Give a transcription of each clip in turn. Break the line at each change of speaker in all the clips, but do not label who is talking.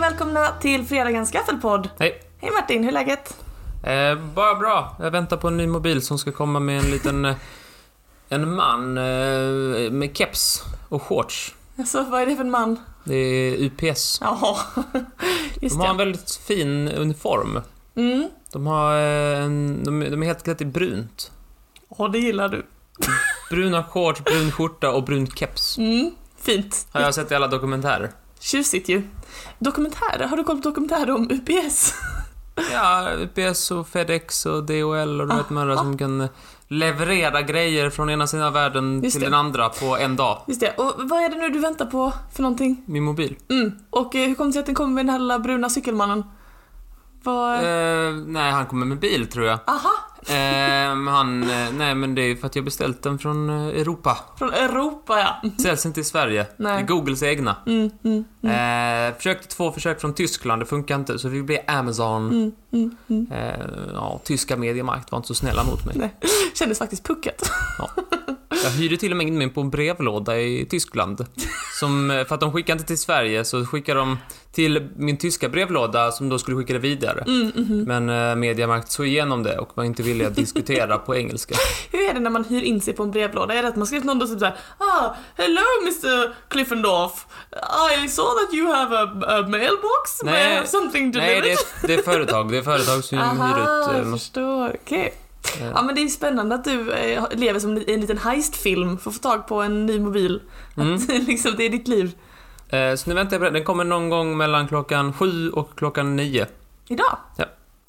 välkomna till fredagens gaffelpodd.
Hej.
Hej Martin, hur är läget?
Eh, bara bra. Jag väntar på en ny mobil som ska komma med en liten... eh, en man eh, med keps och shorts.
Alltså, vad är det för en man?
Det är UPS.
Jaha, just
De har en
det.
väldigt fin uniform.
Mm.
De, har eh, en, de, de är helt klädda i brunt.
Ja, det gillar du.
Bruna shorts, brun skjorta och brun keps.
Mm. Fint.
Har jag sett i alla dokumentärer.
Tjusigt ju. Dokumentärer, har du koll på dokumentärer om UPS?
Ja, UPS och FedEx och DHL och du vet med som kan leverera grejer från ena sidan av världen
Just
till
det.
den andra på en dag.
Just det, och vad är det nu du väntar på för någonting?
Min mobil.
Mm. Och eh, hur kom det sig att den kom med den här lilla bruna cykelmannen? Vad...
Eh, nej, han kommer med bil tror jag.
Aha,
Ehm, han, eh, nej men det är för att jag beställt den från eh, Europa.
från Europa ja.
Säljs inte i Sverige.
Mhm. Nej.
Det är Googles egna.
Mm, mm, mm,
Eh, försökte två försök från Tyskland, det funkar inte så vi blev Amazon.
mm, mm, mm.
Eh, ja, tyska mediemarkt var inte så snälla mot mig.
Nej. Kändes faktiskt puckat.
Jag hyrde till och med in mig på en brevlåda i Tyskland. Som, eh, för att de skickade inte till Sverige så skickade de till min tyska brevlåda som då skulle skicka det vidare.
Mm, mm, mm.
Men eh, Mediamarkt såg igenom det och var inte villiga att diskutera på engelska.
Hur är det när man hyr in sig på en brevlåda? Är det att man skrivit någon då typ såhär ah, Hello Mr Cliffendorf Ah, I saw that you have a, a mailbox May
Nej.
I have something
Nej,
delivered?
det är, det är företag. Det är företag som hyr ut...
Aha,
eh,
jag
massa-
förstår. Okej.
eh,
Ja men det är ju spännande att du eh, lever som i en liten heistfilm för att få tag på en ny mobil.
Mm.
Att, liksom, det är ditt liv.
Eh, Så nu väntar jag på den. Den kommer någon gång mellan klockan sju och klockan nio.
Idag?
Ja.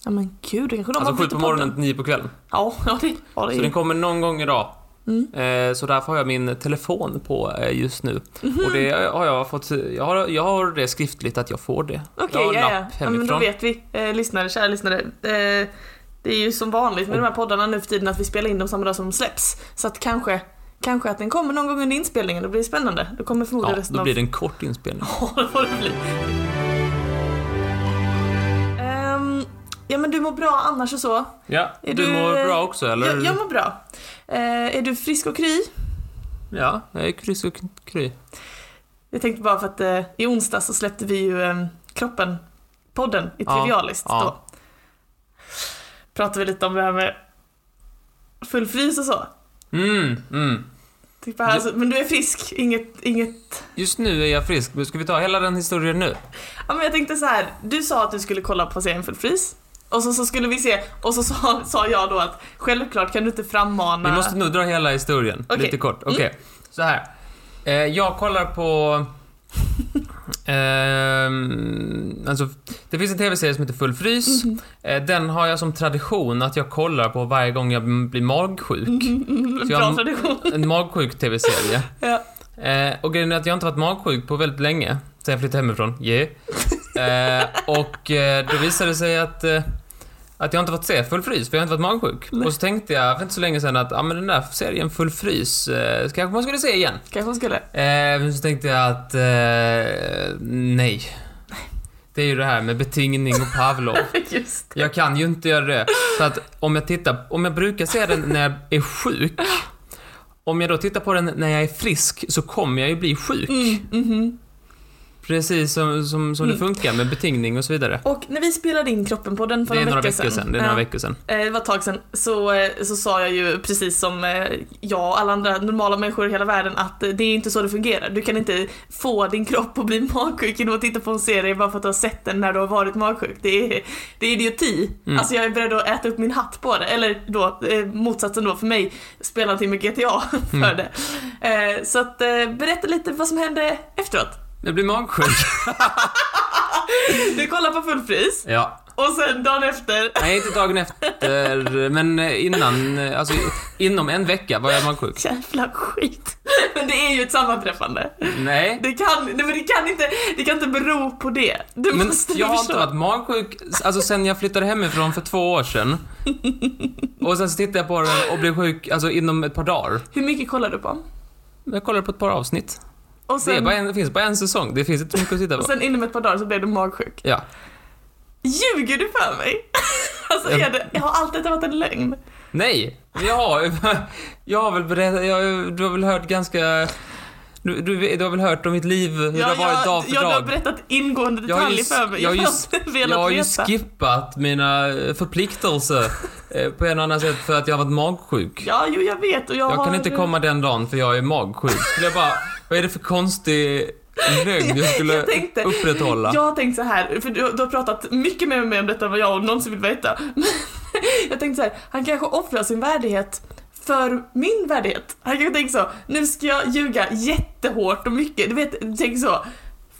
Ja men gud, det kanske de
Alltså
har
sju
bytt
på
podden.
morgonen till nio på kvällen.
Ja, ja det, ja, det
Så
är
den kommer någon gång idag.
Mm.
Eh, Så därför har jag min telefon på eh, just nu.
Mhm.
Och det har jag fått... Jag har, jag har det skriftligt att jag får det. jag
Okej,
har en
ja, ja.
lapp
ja. Men då
hemifrån.
vet vi, eh, lyssnare, kära lyssnare. Eh, det är ju som vanligt med de här poddarna nu för tiden att vi spelar in dem samma dag som de släpps. Så att kanske, kanske att den kommer någon gång under inspelningen, då blir det spännande. Då kommer förmodligen
ja,
resten
då
av...
blir det en kort inspelning.
Ja, det får det bli. Ehm, ja men du mår bra annars och så.
Ja,
Är
du,
du-
mår bra också eller?
Jag, jag mår bra. Eh, är du frisk och kry?
Ja, jag är kryss och kry.
Jag tänkte bara för att eh, i onsdag så släppte vi ju eh, Kroppen-podden i
Ja,
Trivialist.
ja.
Då pratade vi lite om det här med full frys och så.
Mm, mm.
Typ här, så- men du är frisk, inget, inget...
Just nu är jag frisk, men ska vi ta hela den historien nu?
Ja men jag tänkte så här. du sa att du skulle kolla på serien Full frys. Och så, så skulle vi se, och så sa, sa jag då att självklart kan du inte frammana...
Vi måste nog dra hela historien,
Okej.
lite kort. Okej, så här. Eh, jag kollar på... Ehm, alltså, det finns en TV-serie som heter Full frys. Eh, den har jag som tradition att jag kollar på varje gång jag m- blir magsjuk.
Mm,
Så
bra
jag-
tradition.
En magsjuk TV-serie.
Ja.
Eh, och grejen är att jag inte varit magsjuk på väldigt länge, sen jag flyttade hemifrån. Yeah. Eh, och eh, då visade det sig att, eh, att jag inte varit se Full frys, för jag har inte varit magsjuk.
Nej.
Och så tänkte jag för inte så länge sedan att ah, men den där serien Full frys, eh, kanske man skulle se igen.
Kanske hon skulle.
Eh, men så tänkte jag att, eh, nej. Det är ju det här med betingning och Pavlov.
Just det.
Jag kan ju inte göra det. Så att om jag tittar, om jag brukar se den när jag är sjuk, om jag då tittar på den när jag är frisk så kommer jag ju bli sjuk.
Mm, mhm.
Precis som, som, som det
Mm.
funkar med betingning och så vidare.
Och när vi spelade in Kroppen-podden för
Det är
några
några veckor sedan. Det är
ja.
några veckor sedan.
Eh, Det var ett tag sedan, så, eh, så sa jag ju precis som eh, jag och alla andra normala människor i hela världen att eh, det är inte så det fungerar. Du kan inte få din kropp att bli magsjuk genom att titta på en serie bara för att du har sett den när du har varit magsjuk. Det är, det är idioti.
Mm.
Alltså jag är beredd att äta upp min hatt på det. Eller då, eh, motsatsen då för mig, spela någonting med GTA för
Mm.
det. Eh, Så att eh, berätta lite vad som hände efteråt.
Jag blir magsjuk.
Du kollar på full pris
Ja.
och sen dagen efter
Nej, inte dagen efter, men innan, alltså inom en vecka var jag magsjuk.
Jävla skit. Men det är ju ett sammanträffande.
Nej.
Det kan, nej, men det kan, inte, det kan inte bero på det. Du
Men
måste
jag har
förstå.
inte varit magsjuk, alltså sen jag flyttade hemifrån för två år sedan. Och sen så tittade jag på den och blev sjuk, alltså inom ett par dagar.
Hur mycket kollar du på?
Jag kollade på ett par avsnitt.
Och
Det, är
sen,
bara en, det finns bara en säsong, det finns inte mycket att titta
och
på.
sen inom ett par dagar så blev du magsjuk.
Ja.
Ljuger du för mig? Alltså är det, jag har alltid varit en lögn.
Nej, jag har, jag har väl berättat, jag, du har väl hört ganska Du, du, du har väl hört om mitt liv, hur det har varit dag för
ja, du har
dag?
berättat ingående
Jag har ju
detaljer
s-
för mig.
jag
Jag
har
har
ju s-
inte velat
Jag har ju
veta.
skippat mina eh, förpliktelser eh, på en och annan sätt för att jag har varit magsjuk.
Ja, jo, jag vet. Och jag,
Jag
har...
kan inte komma den dagen för jag är magsjuk. Skulle jag bara, vad är det för konstig lögn jag skulle
Jag tänkte-
upprätthålla?
Jag har tänkt så här, för du, du har pratat mycket mer med mig om detta än vad jag någonsin vill veta. jag tänkte så här, han kanske offrar sin värdighet för min värdighet. Han kanske tänker så, nu ska jag ljuga jättehårt och mycket. Du vet, tänk så.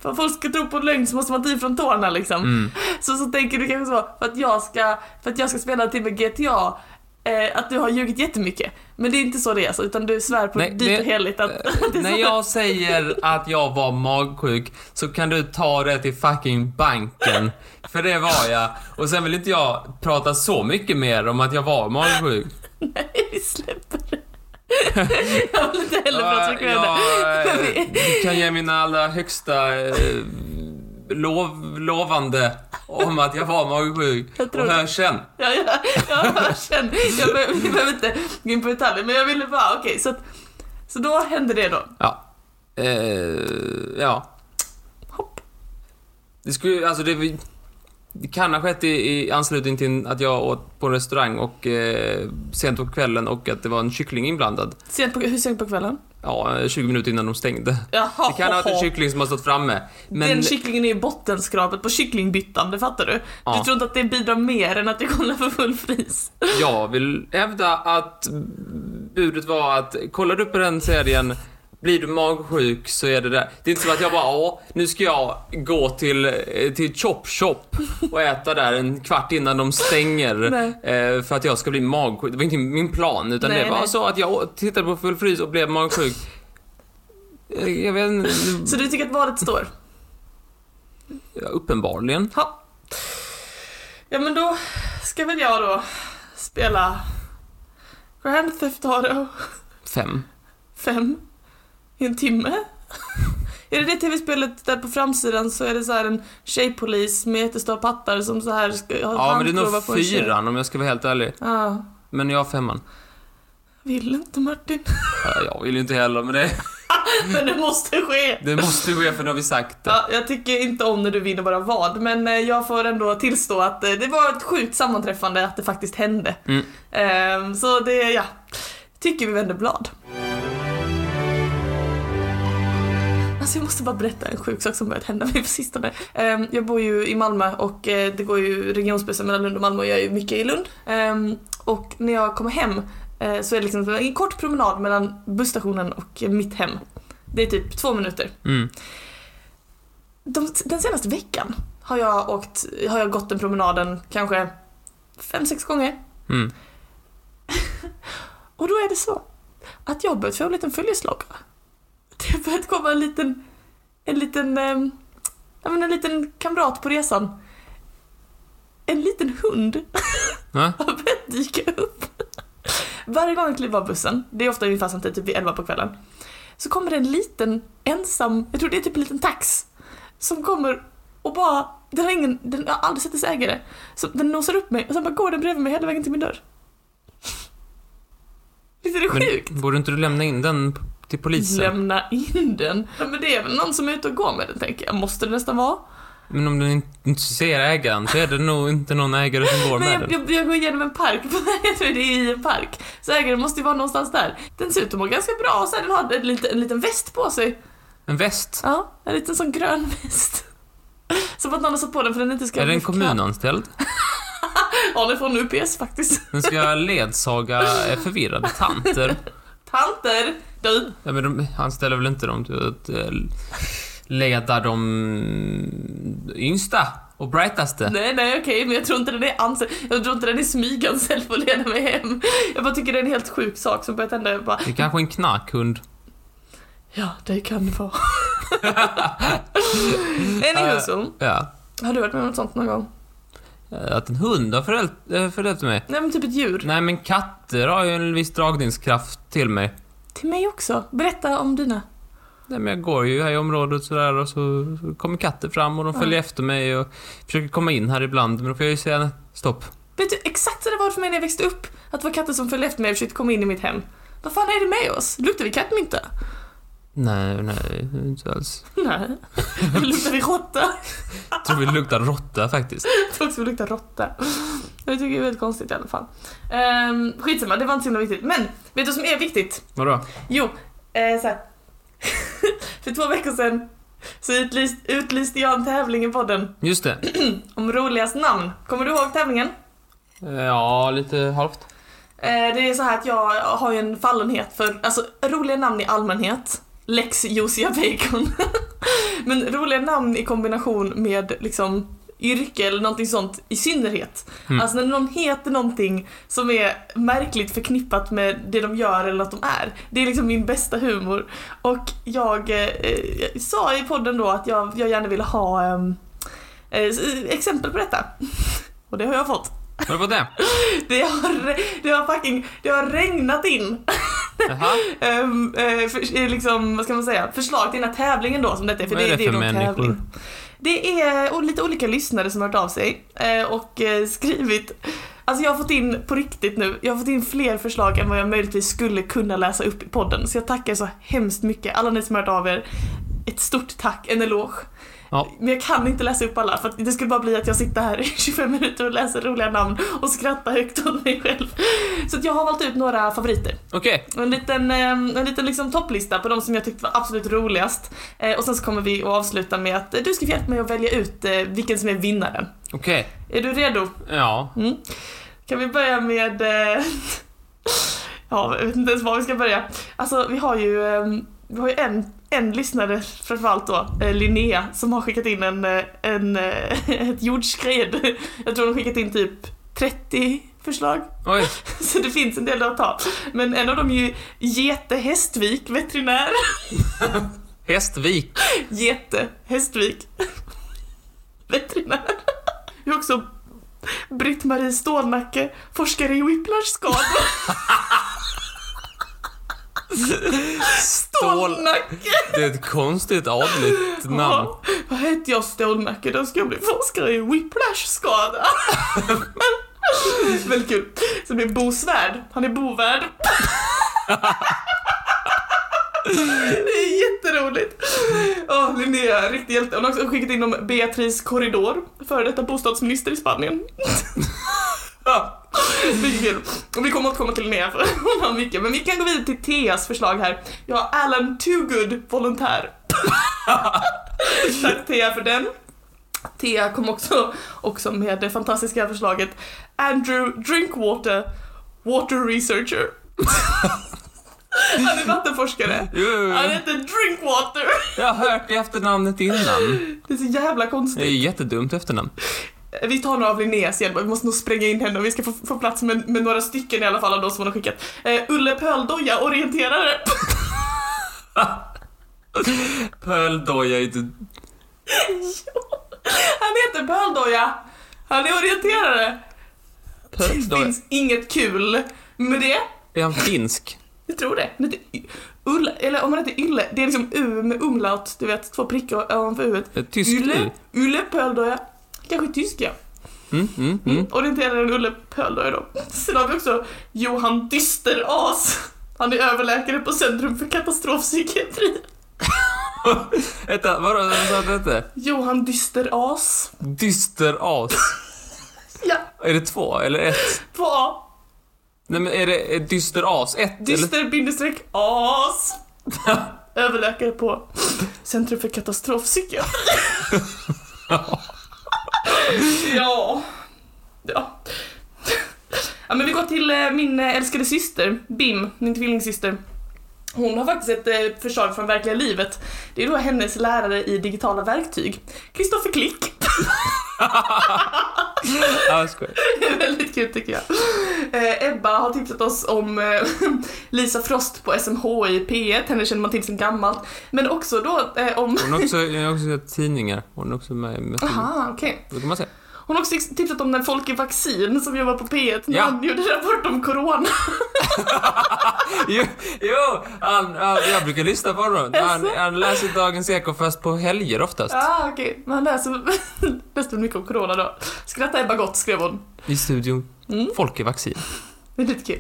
För att folk ska tro på en lögn så måste man ta i från tårna liksom.
Mm.
Så, så tänker du kanske så, för att jag ska, för att jag ska spela till med GTA, eh, att du har ljugit jättemycket. Men det är inte så det är alltså, utan du svär på
Nej,
dyrt
det-
och heligt att, att det är
När
så.
jag säger att jag var magsjuk så kan du ta det till fucking banken. För det var jag. Och sen vill inte jag prata så mycket mer om att jag var magsjuk.
Nej, vi släpper det. jag vill inte heller prata
Jag,
mycket om det.
jag eh, kan ge mina allra högsta eh, lov, lovande om att jag var magsjuk.
Jag tror
och
det.
hör sen.
Ja, ja, jag hör sen. Jag behöver, vi behöver inte gå in på detaljer, men jag ville bara, okej, så att, så då hände det då.
Ja. Eh, ja.
Hopp.
Det skulle alltså det, vi- det kan ha skett i, i anslutning till att jag åt på en restaurang och eh, sent på kvällen och att det var en kyckling inblandad.
Sent på, hur sent på kvällen?
Ja, eh, 20 minuter innan de stängde.
Jaha,
Det kan ha varit en kyckling som har stått framme. Men
Den kycklingen är ju bottenskrapet på kycklingbyttan, det fattar du?
Ja.
Du tror inte att det bidrar mer än att jag kollar för full pris?
jag vill hävda att budet var att kollar du på den serien blir du magsjuk så är det där. Det är inte som att jag bara, åh, nu ska jag gå till, eh, till Chop Shop och äta där en kvart innan de stänger.
Nej.
Eh, för att jag ska bli magsjuk. Det var inte min plan, utan
Nej,
det var
nej.
så att jag å- tittade på Full Frys och blev magsjuk. Eh, Jag vet inte,
Så du tycker att valet står?
ja, uppenbarligen.
Ja. Ja men då ska väl jag då spela Grand Theft Auto
Fem.
5 i en timme. Är det det tv-spelet där på framsidan så är det så här en tjejpolis med jättestora pattar som så här ska ha
Ja, men det är
handklovar
nog
på en tjej.
fyran om jag ska vara helt ärlig.
Ja.
Men jag har femman.
Vill inte Martin.
Ja, Jag vill ju inte heller, men det,
Men det måste ske.
det måste ske för nu har vi sagt det.
Ja, jag tycker inte om när du vinner våra vad, men eh, jag får ändå tillstå att eh, det var ett sjukt sammanträffande att det faktiskt hände.
Mm.
Ehm, så det, ja. Tycker vi vänder blad. Alltså jag måste bara berätta en sjuk sak som börjat hända mig på sistone. Ehm, jag bor ju i Malmö och eh, det går ju regionsbussar mellan Lund och Malmö och jag är ju mycket i Lund. Ehm, och när jag kommer hem eh, så är det liksom en kort promenad mellan busstationen och mitt hem. Det är typ två minuter.
Mm.
De, den senaste veckan har jag, åkt, har jag gått den promenaden kanske fem, sex gånger.
Mm.
Och då är det så att jag har börjat få en liten följeslagare. Det har börjat komma en liten, en liten, eh, ja men en liten kamrat på resan. En liten hund
Ja.
har börjat dyka upp. Varje gång jag kliver av bussen, det är ofta ungefär samtidigt, typ vid 11 på kvällen, så kommer det en liten ensam, jag tror det är typ en liten tax, som kommer och bara, den har ingen, den jag har aldrig sett dess ägare, så den nosar upp mig och sen bara går den bredvid mig hela vägen till min dörr. Visst är det
Men
sjukt?
borde inte du lämna in den p- till polisen?
Lämna in den. Ja, Men det är väl någon som är ute och går med den tänker jag, måste det nästan vara.
Men om du in- inte ser ägaren så är det nog inte någon ägare som går
Men
med
jag,
den.
jag, jag går igenom en park, på vägen, det är i en park. Så ägaren måste ju vara någonstans där. Den ser ut att må ganska bra och så här, den har en liten, en liten väst på sig.
En väst?
Ja, en liten sån grön väst. Som att någon har satt på den för den inte ska
Är det en
bli för kall.
kommunanställd?
Ja, den är från UPS faktiskt.
Den ska ledsaga eh, förvirrade tanter?
Tanter! Du!
Ja, men de, han ställer väl inte dem till att eh, leda de yngsta och brightaste?
Nej, nej, okej, men jag tror inte den är anställd. Jag tror inte den är smyganställd för att leda mig hem. Jag bara tycker det är en helt sjuk sak som börjat hända. Jag bara,
Det är kanske en knarkhund.
ja, det kan det vara. Anywho, så.
Ja.
har du varit med om något sånt någon gång?
Eh, Att en hund har förält- eh, fördöpt mig.
Nej, men typ ett djur.
Nej, men katter har ju en viss dragningskraft till mig.
Till mig också. Berätta om dina.
Nej, men jag går ju här i området sådär och så så kommer katter fram och de
Ja.
följer efter mig och försöker komma in här ibland men då får jag ju säga nej, stopp.
Vet du exakt så det var för mig när jag växte upp? Att det var katter som följde efter mig och försökte komma in i mitt hem. Vad fan är det med oss? Luktar vi kattmynta?
Nej, nej, inte alls.
Nej. Det luktar vi råtta.
Jag tror vi luktar råtta faktiskt.
Folk som luktar råtta. Jag tycker det är väldigt konstigt i alla fall. Ehm, skitsamma, det var inte så himla viktigt. Men, vet du vad som är viktigt?
Vadå?
Jo, eh, så här. För två veckor sedan så utlyst, utlyste jag en tävling i podden
Just det.
om roligast namn. Kommer du ihåg tävlingen?
Eh, Ja, lite halvt.
Eh, Det är så här att jag har ju en fallenhet för alltså, roliga namn i allmänhet. Lex Josia Bacon. Men roliga namn i kombination med liksom yrke eller någonting sånt i synnerhet.
Mm.
Alltså när någon heter någonting som är märkligt förknippat med det de gör eller att de är. Det är liksom min bästa humor. Och jag eh, eh, sa i podden då att jag, jag gärna ville ha ehm, eh, s- exempel på detta. Och det har jag fått.
Har du fått det?
Det har, det har fucking det har regnat in
Jaha.
um, för, liksom, vad ska man säga, förslag till den här tävlingen då som detta är. För
Vad är
det,
det för
är ju då en
människor?
tävling. Det är o- lite olika lyssnare som har hört av sig eh, och eh, skrivit Alltså jag har fått in, på riktigt nu, jag har fått in fler förslag än vad jag möjligtvis skulle kunna läsa upp i podden. Så jag tackar så hemskt mycket, alla ni som har hört av er. Ett stort tack, en eloge.
Ja.
Men jag kan inte läsa upp alla för att det skulle bara bli att jag sitter här i 25 minuter och läser roliga namn och skrattar högt åt mig själv. Så att jag har valt ut några favoriter.
Okej.
En liten, eh, en liten liksom topplista på de som jag tyckte var absolut roligast. Eh, Och sen så kommer vi att avsluta med att eh, du ska få hjälpa mig att välja ut eh, vilken som är vinnaren.
Okej.
Är du redo? Mm.
Ja.
Kan vi börja med... eh, Ja, jag vet inte ens var vi ska börja. Alltså vi har ju, eh, vi har ju en, en lyssnare framförallt då, eh, Linnea, som har skickat in en, eh, en, eh, ett jordskred. Jag tror hon har skickat in typ 30 förslag.
Oj.
Så det finns en del att ta. Men en av dem är ju Gete Hästvik, veterinär.
Hästvik.
Gete Hästvik. Veterinär. Jag har också Britt-Marie Stålnacke, forskare i whiplash-skador.
Stål.
Stålnacke!
Det är ett konstigt adligt namn.
Ja. Vad heter jag Stålnacke? Då ska jag bli forskare i whiplash-skada. Väldigt kul. Sen blir Bo Svärd. Han är bovärd. Det är jätteroligt. Åh, Linnea, riktig hjälte. Hon har också skickat in om Beatrice Corridor, före detta bostadsminister i Spanien. ja, mycket kul. Och vi kommer återkomma till Linnea för hon har mycket. Men vi kan gå vidare till Theas förslag här. Jag har Alan Toogood, volontär. Tack Thea för den. Thea kom också, också med det fantastiska förslaget Andrew Drinkwater, water researcher. Han är vattenforskare.
Jo, jo,
Han
jo.
heter Drinkwater.
Jag har hört det efternamnet innan.
Det är så jävla
Det är
konstigt.
ju jättedumt efternamn.
Vi tar några av Linnés hjälp, vi måste nog spränga in henne och vi ska få, få plats med, med några stycken i alla fall av de som hon har skickat. Eh, Ulle Pöldoja, orienterare.
Pölldoja är inte...
Han heter Pöldoja. Han är orienterare. Det
Pölldoja.
finns inget kul med det.
Är han finsk?
Jag tror det. Men det Ulla, eller om man heter Ylle, det är liksom U med umlaut, du vet, två prickar ovanför Uet.
Ett Tysk
Ylle,
Ylle?
Ulle Pöldoja. Kanske tyska.
Mm, mm, mm.
Orienteraren Ulle Pöldoja då. Sen har vi också Johan Dysteras. Han är överläkare på Centrum för katastrofpsykiatri.
Vänta, vadå? Vad sa du hette?
Johan Dysteras.
Dysteras.
Ja,
Är det två eller ett?
på A.
Nej men är det är dysteras ett eller?
Dyster bindestreck as. Överläkare på Centrum för katastrofpsykiatri. ja. Ja. Ja men vi går till eh, min eh, älskade syster, Bim, min tvillingsyster. Hon har faktiskt ett eh, förslag från verkliga livet. Det är då hennes lärare i digitala verktyg, Kristoffer Klick.
Ja, jag skojar.
Det är väldigt kul tycker jag. Eh, Ebba har tipsat oss om eh, Lisa Frost på SMHI P1, henne känner man till sen gammalt. Men också då eh, om...
Hon har också, jag har också sett tidningar. Hon är också med i Mötesgruppen.
Aha, okej.
Det kan man säga.
Hon har också tipsat om den folk i vaccin som jobbar på P1 när
Ja.
han gjorde rapport om corona.
Jo, jo han, han, jag brukar lyssna på honom. Han, han läser Dagens Eko fast på helger oftast.
Ah, okej. Men han läser nästan mycket om corona då. Skratta Ebba gott, skrev hon.
I studion.
Mm.
Folk är vaccin.
Väldigt kul.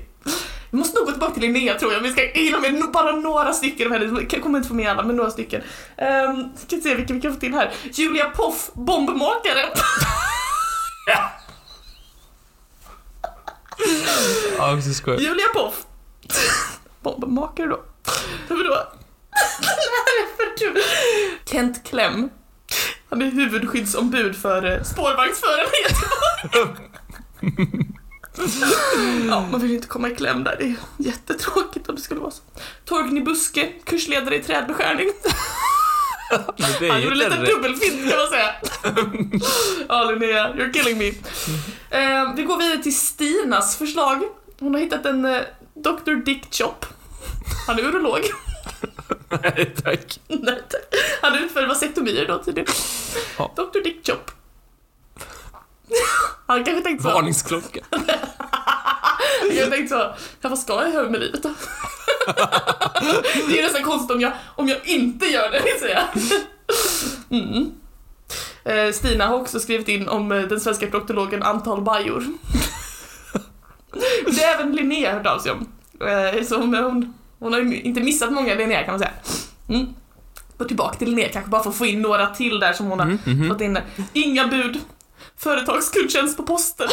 Vi måste nog gå tillbaka till Linnea tror jag, vi ska hinna med no- bara några stycken av henne. Jag kommer inte få med alla, men några stycken. Um, ska se vilka vi kan få till här. Julia Poff, bombmakare.
Ja, också skoj.
Julia Poff. bombmakare då. Men då. Det här är för kul. Kent Klem. Han är huvudskyddsombud för eh, spårvagnsförare i Göteborg. Ja, man vill ju inte komma i kläm där. Det är jättetråkigt om det skulle vara så. Torgny Buske, kursledare i trädbeskärning.
Men det
Han
är ju
gjorde lite
inte rätt.
dubbelfint kan man säga. Ja, Linnea, you're killing me. Eh, vi går vidare till Stinas förslag. Hon har hittat en eh, Dr. Dick Chop. Han är urolog.
Nej, tack.
Nej, tack. Han utför vasektomier då tydligen.
Ja.
Dr. Dick Chop. Han kanske tänkte så.
Varningsklocka.
Jag tänkte så, ja, vad ska jag göra med livet då? det är nästan konstigt om jag, om jag inte gör det, vill säga. Mm. Eh, Stina har också skrivit in om eh, den svenska proktologen antal bajor. det är även Linnea hört av sig om. Eh, så hon, hon, hon har ju inte missat många Linnea kan man säga. Mm. Gå tillbaka till Linnea kanske bara för att få in några till där som hon har
Mm, mhm.
fått in. där. Inga bud. Företagskundtjänst på posten.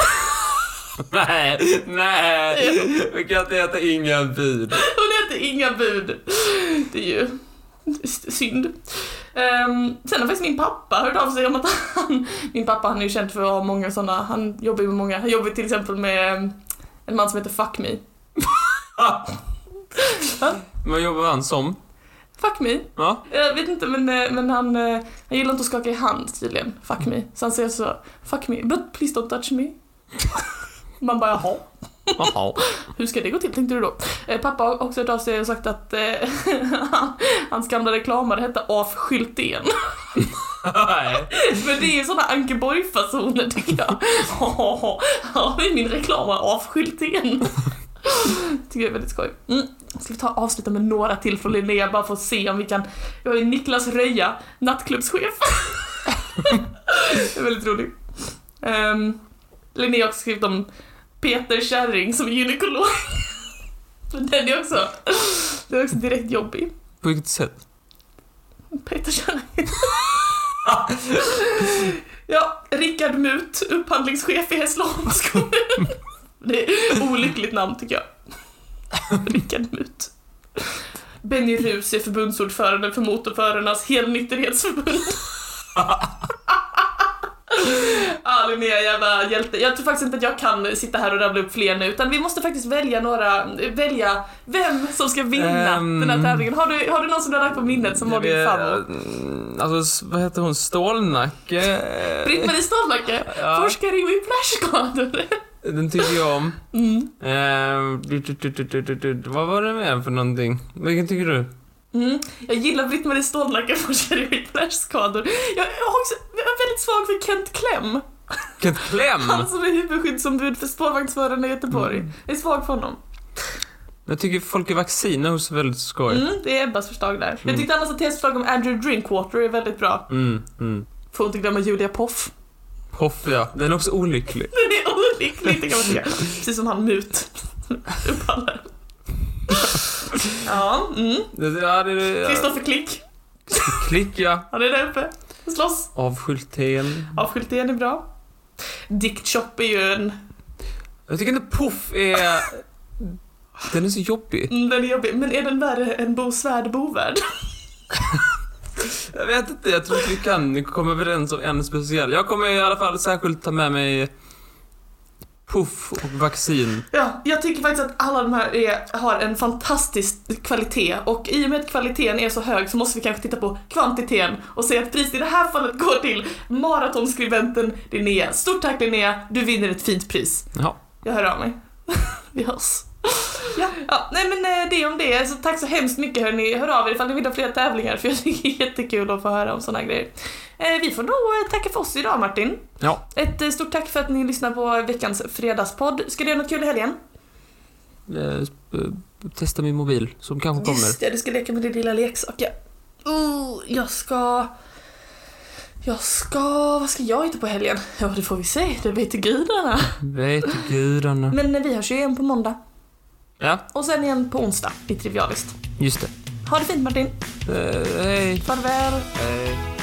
Nej, nej. Vi kan inte äta inga bud.
Hon heter Inga Bud. Det är ju synd. Ehm, sen har faktiskt min pappa hört av sig om att han, min pappa han är ju känd för att ha många sådana, han jobbar ju med många, han jobbar till exempel med ehm, en man som heter Fuck Me.
Vad jobbar han som?
Fuck Me?
Ja.
Jag vet inte men, eh, men han, eh, han gillar inte att skaka i hand tydligen, Fuck Me. Så han säger så, Fuck Me, but please don't touch me. Man bara jaha.
Jaha.
Hur ska det gå till tänkte du då? Eh, pappa har också hört av sig och sagt att eh, hans gamla reklamare hette Af Schyltén.
Nej.
Men det är ju såna Ankeborg-fasoner tycker jag. Ja, Här är min reklamare Af Schyltén. Tycker jag är väldigt skoj. Mm. Ska vi ta avsluta med några till från Linnea bara för att se om vi kan... Jag har ju Niklas Röja, nattklubbschef. det är väldigt roligt. Um, Linnea har också skrivit om Peter Kärring som är gynekolog. Men Den är också... Den är också direkt jobbig.
På vilket sätt?
Peter Kärring. ja, Rickard Mut, upphandlingschef i Hässleholms kommun. Det är olyckligt namn tycker jag. Rickard Mut. Benny Rus är förbundsordförande för Motorförarnas helnykterhetsförbund. Ah, Linnea, jävla hjälte. Jag tror faktiskt inte att jag kan sitta här och rabbla upp fler nu utan vi måste faktiskt välja några, välja vem som ska vinna
Ehm.
den här tävlingen. Har du, har du någon som du har lagt på minnet som var din
Jag vet-
favorit?
Mm, Alltså, s- vad heter hon? Stålnacke?
Britt-Marie Stålnacke,
Ja.
forskare i whiplashskador.
Den tycker jag om.
Mm.
Eh, du- du- du- du- du- du- du- Vad var det med för någonting? Vilken tycker du?
Mm. Jag gillar Britt-Marie Stålnacke, forskare i whiplashskador. Jag är också jag är väldigt svag för Kent
Mm.
Klem,
Vilket kläm!
han som är huvudskyddsombud för spårvagnsförarna i Göteborg.
Mm.
Jag är svag för honom.
Jag tycker folk i vacciner är så väldigt skoj.
Mm, det är Ebbas förslag där. Jag tyckte annars att hennes förslag om Andrew Drinkwater är väldigt bra.
Mm, mm.
Får inte glömma Julia Poff.
Hoff, ja. Den är också olycklig.
Det är olyckligt, det kan man säga. Precis som han Mut. Upphandlaren. Ja, mm.
Det, ja, det, det,
Kristoffer Klick,
klick, ja.
han är där uppe. Slåss.
Avskylten.
Avskyltningen är bra. Dick Chop är ju en...
Jag tycker inte Poff är... Den är så jobbig.
mm, Den är jobbig, men är den värre än Bo Svärd Bovärd?
Jag vet inte, jag tror inte vi kan komma överens om en speciell. Jag kommer i alla fall särskilt ta med mig Poff och vaccin.
Ja, jag tycker faktiskt att alla de här är, har en fantastisk kvalitet och i och med att kvaliteten är så hög så måste vi kanske titta på kvantiteten och säga att priset i det här fallet går till maratonskribenten Linnea. Stort tack Linnea, du vinner ett fint pris.
Ja.
Jag hör av mig. vi hörs. Ja. ja, nej men eh, det om det. Så tack så hemskt mycket hörni. Hör av er ifall ni vill ha fler tävlingar för jag tycker det är jättekul att få höra om sådana grejer. Eh, Vi får då eh, tacka för oss idag Martin.
Ja.
Ett eh, stort tack för att ni lyssnar på veckans fredagspodd. Ska du göra något kul i helgen?
Eh, eh, Testa min mobil, som kanske kommer.
Just det, du ska leka med din lilla leksak ja. Oh, jag ska... Jag ska... Vad ska jag hitta på helgen? Ja, det får vi se. Det vet gudarna.
Vet gudarna.
Men eh, vi hörs ju igen på måndag.
Ja,
Och sen igen på onsdag i Trivialist.
just
Ha det fint Martin.
det. Eh, hej.
Farväl.
Hej.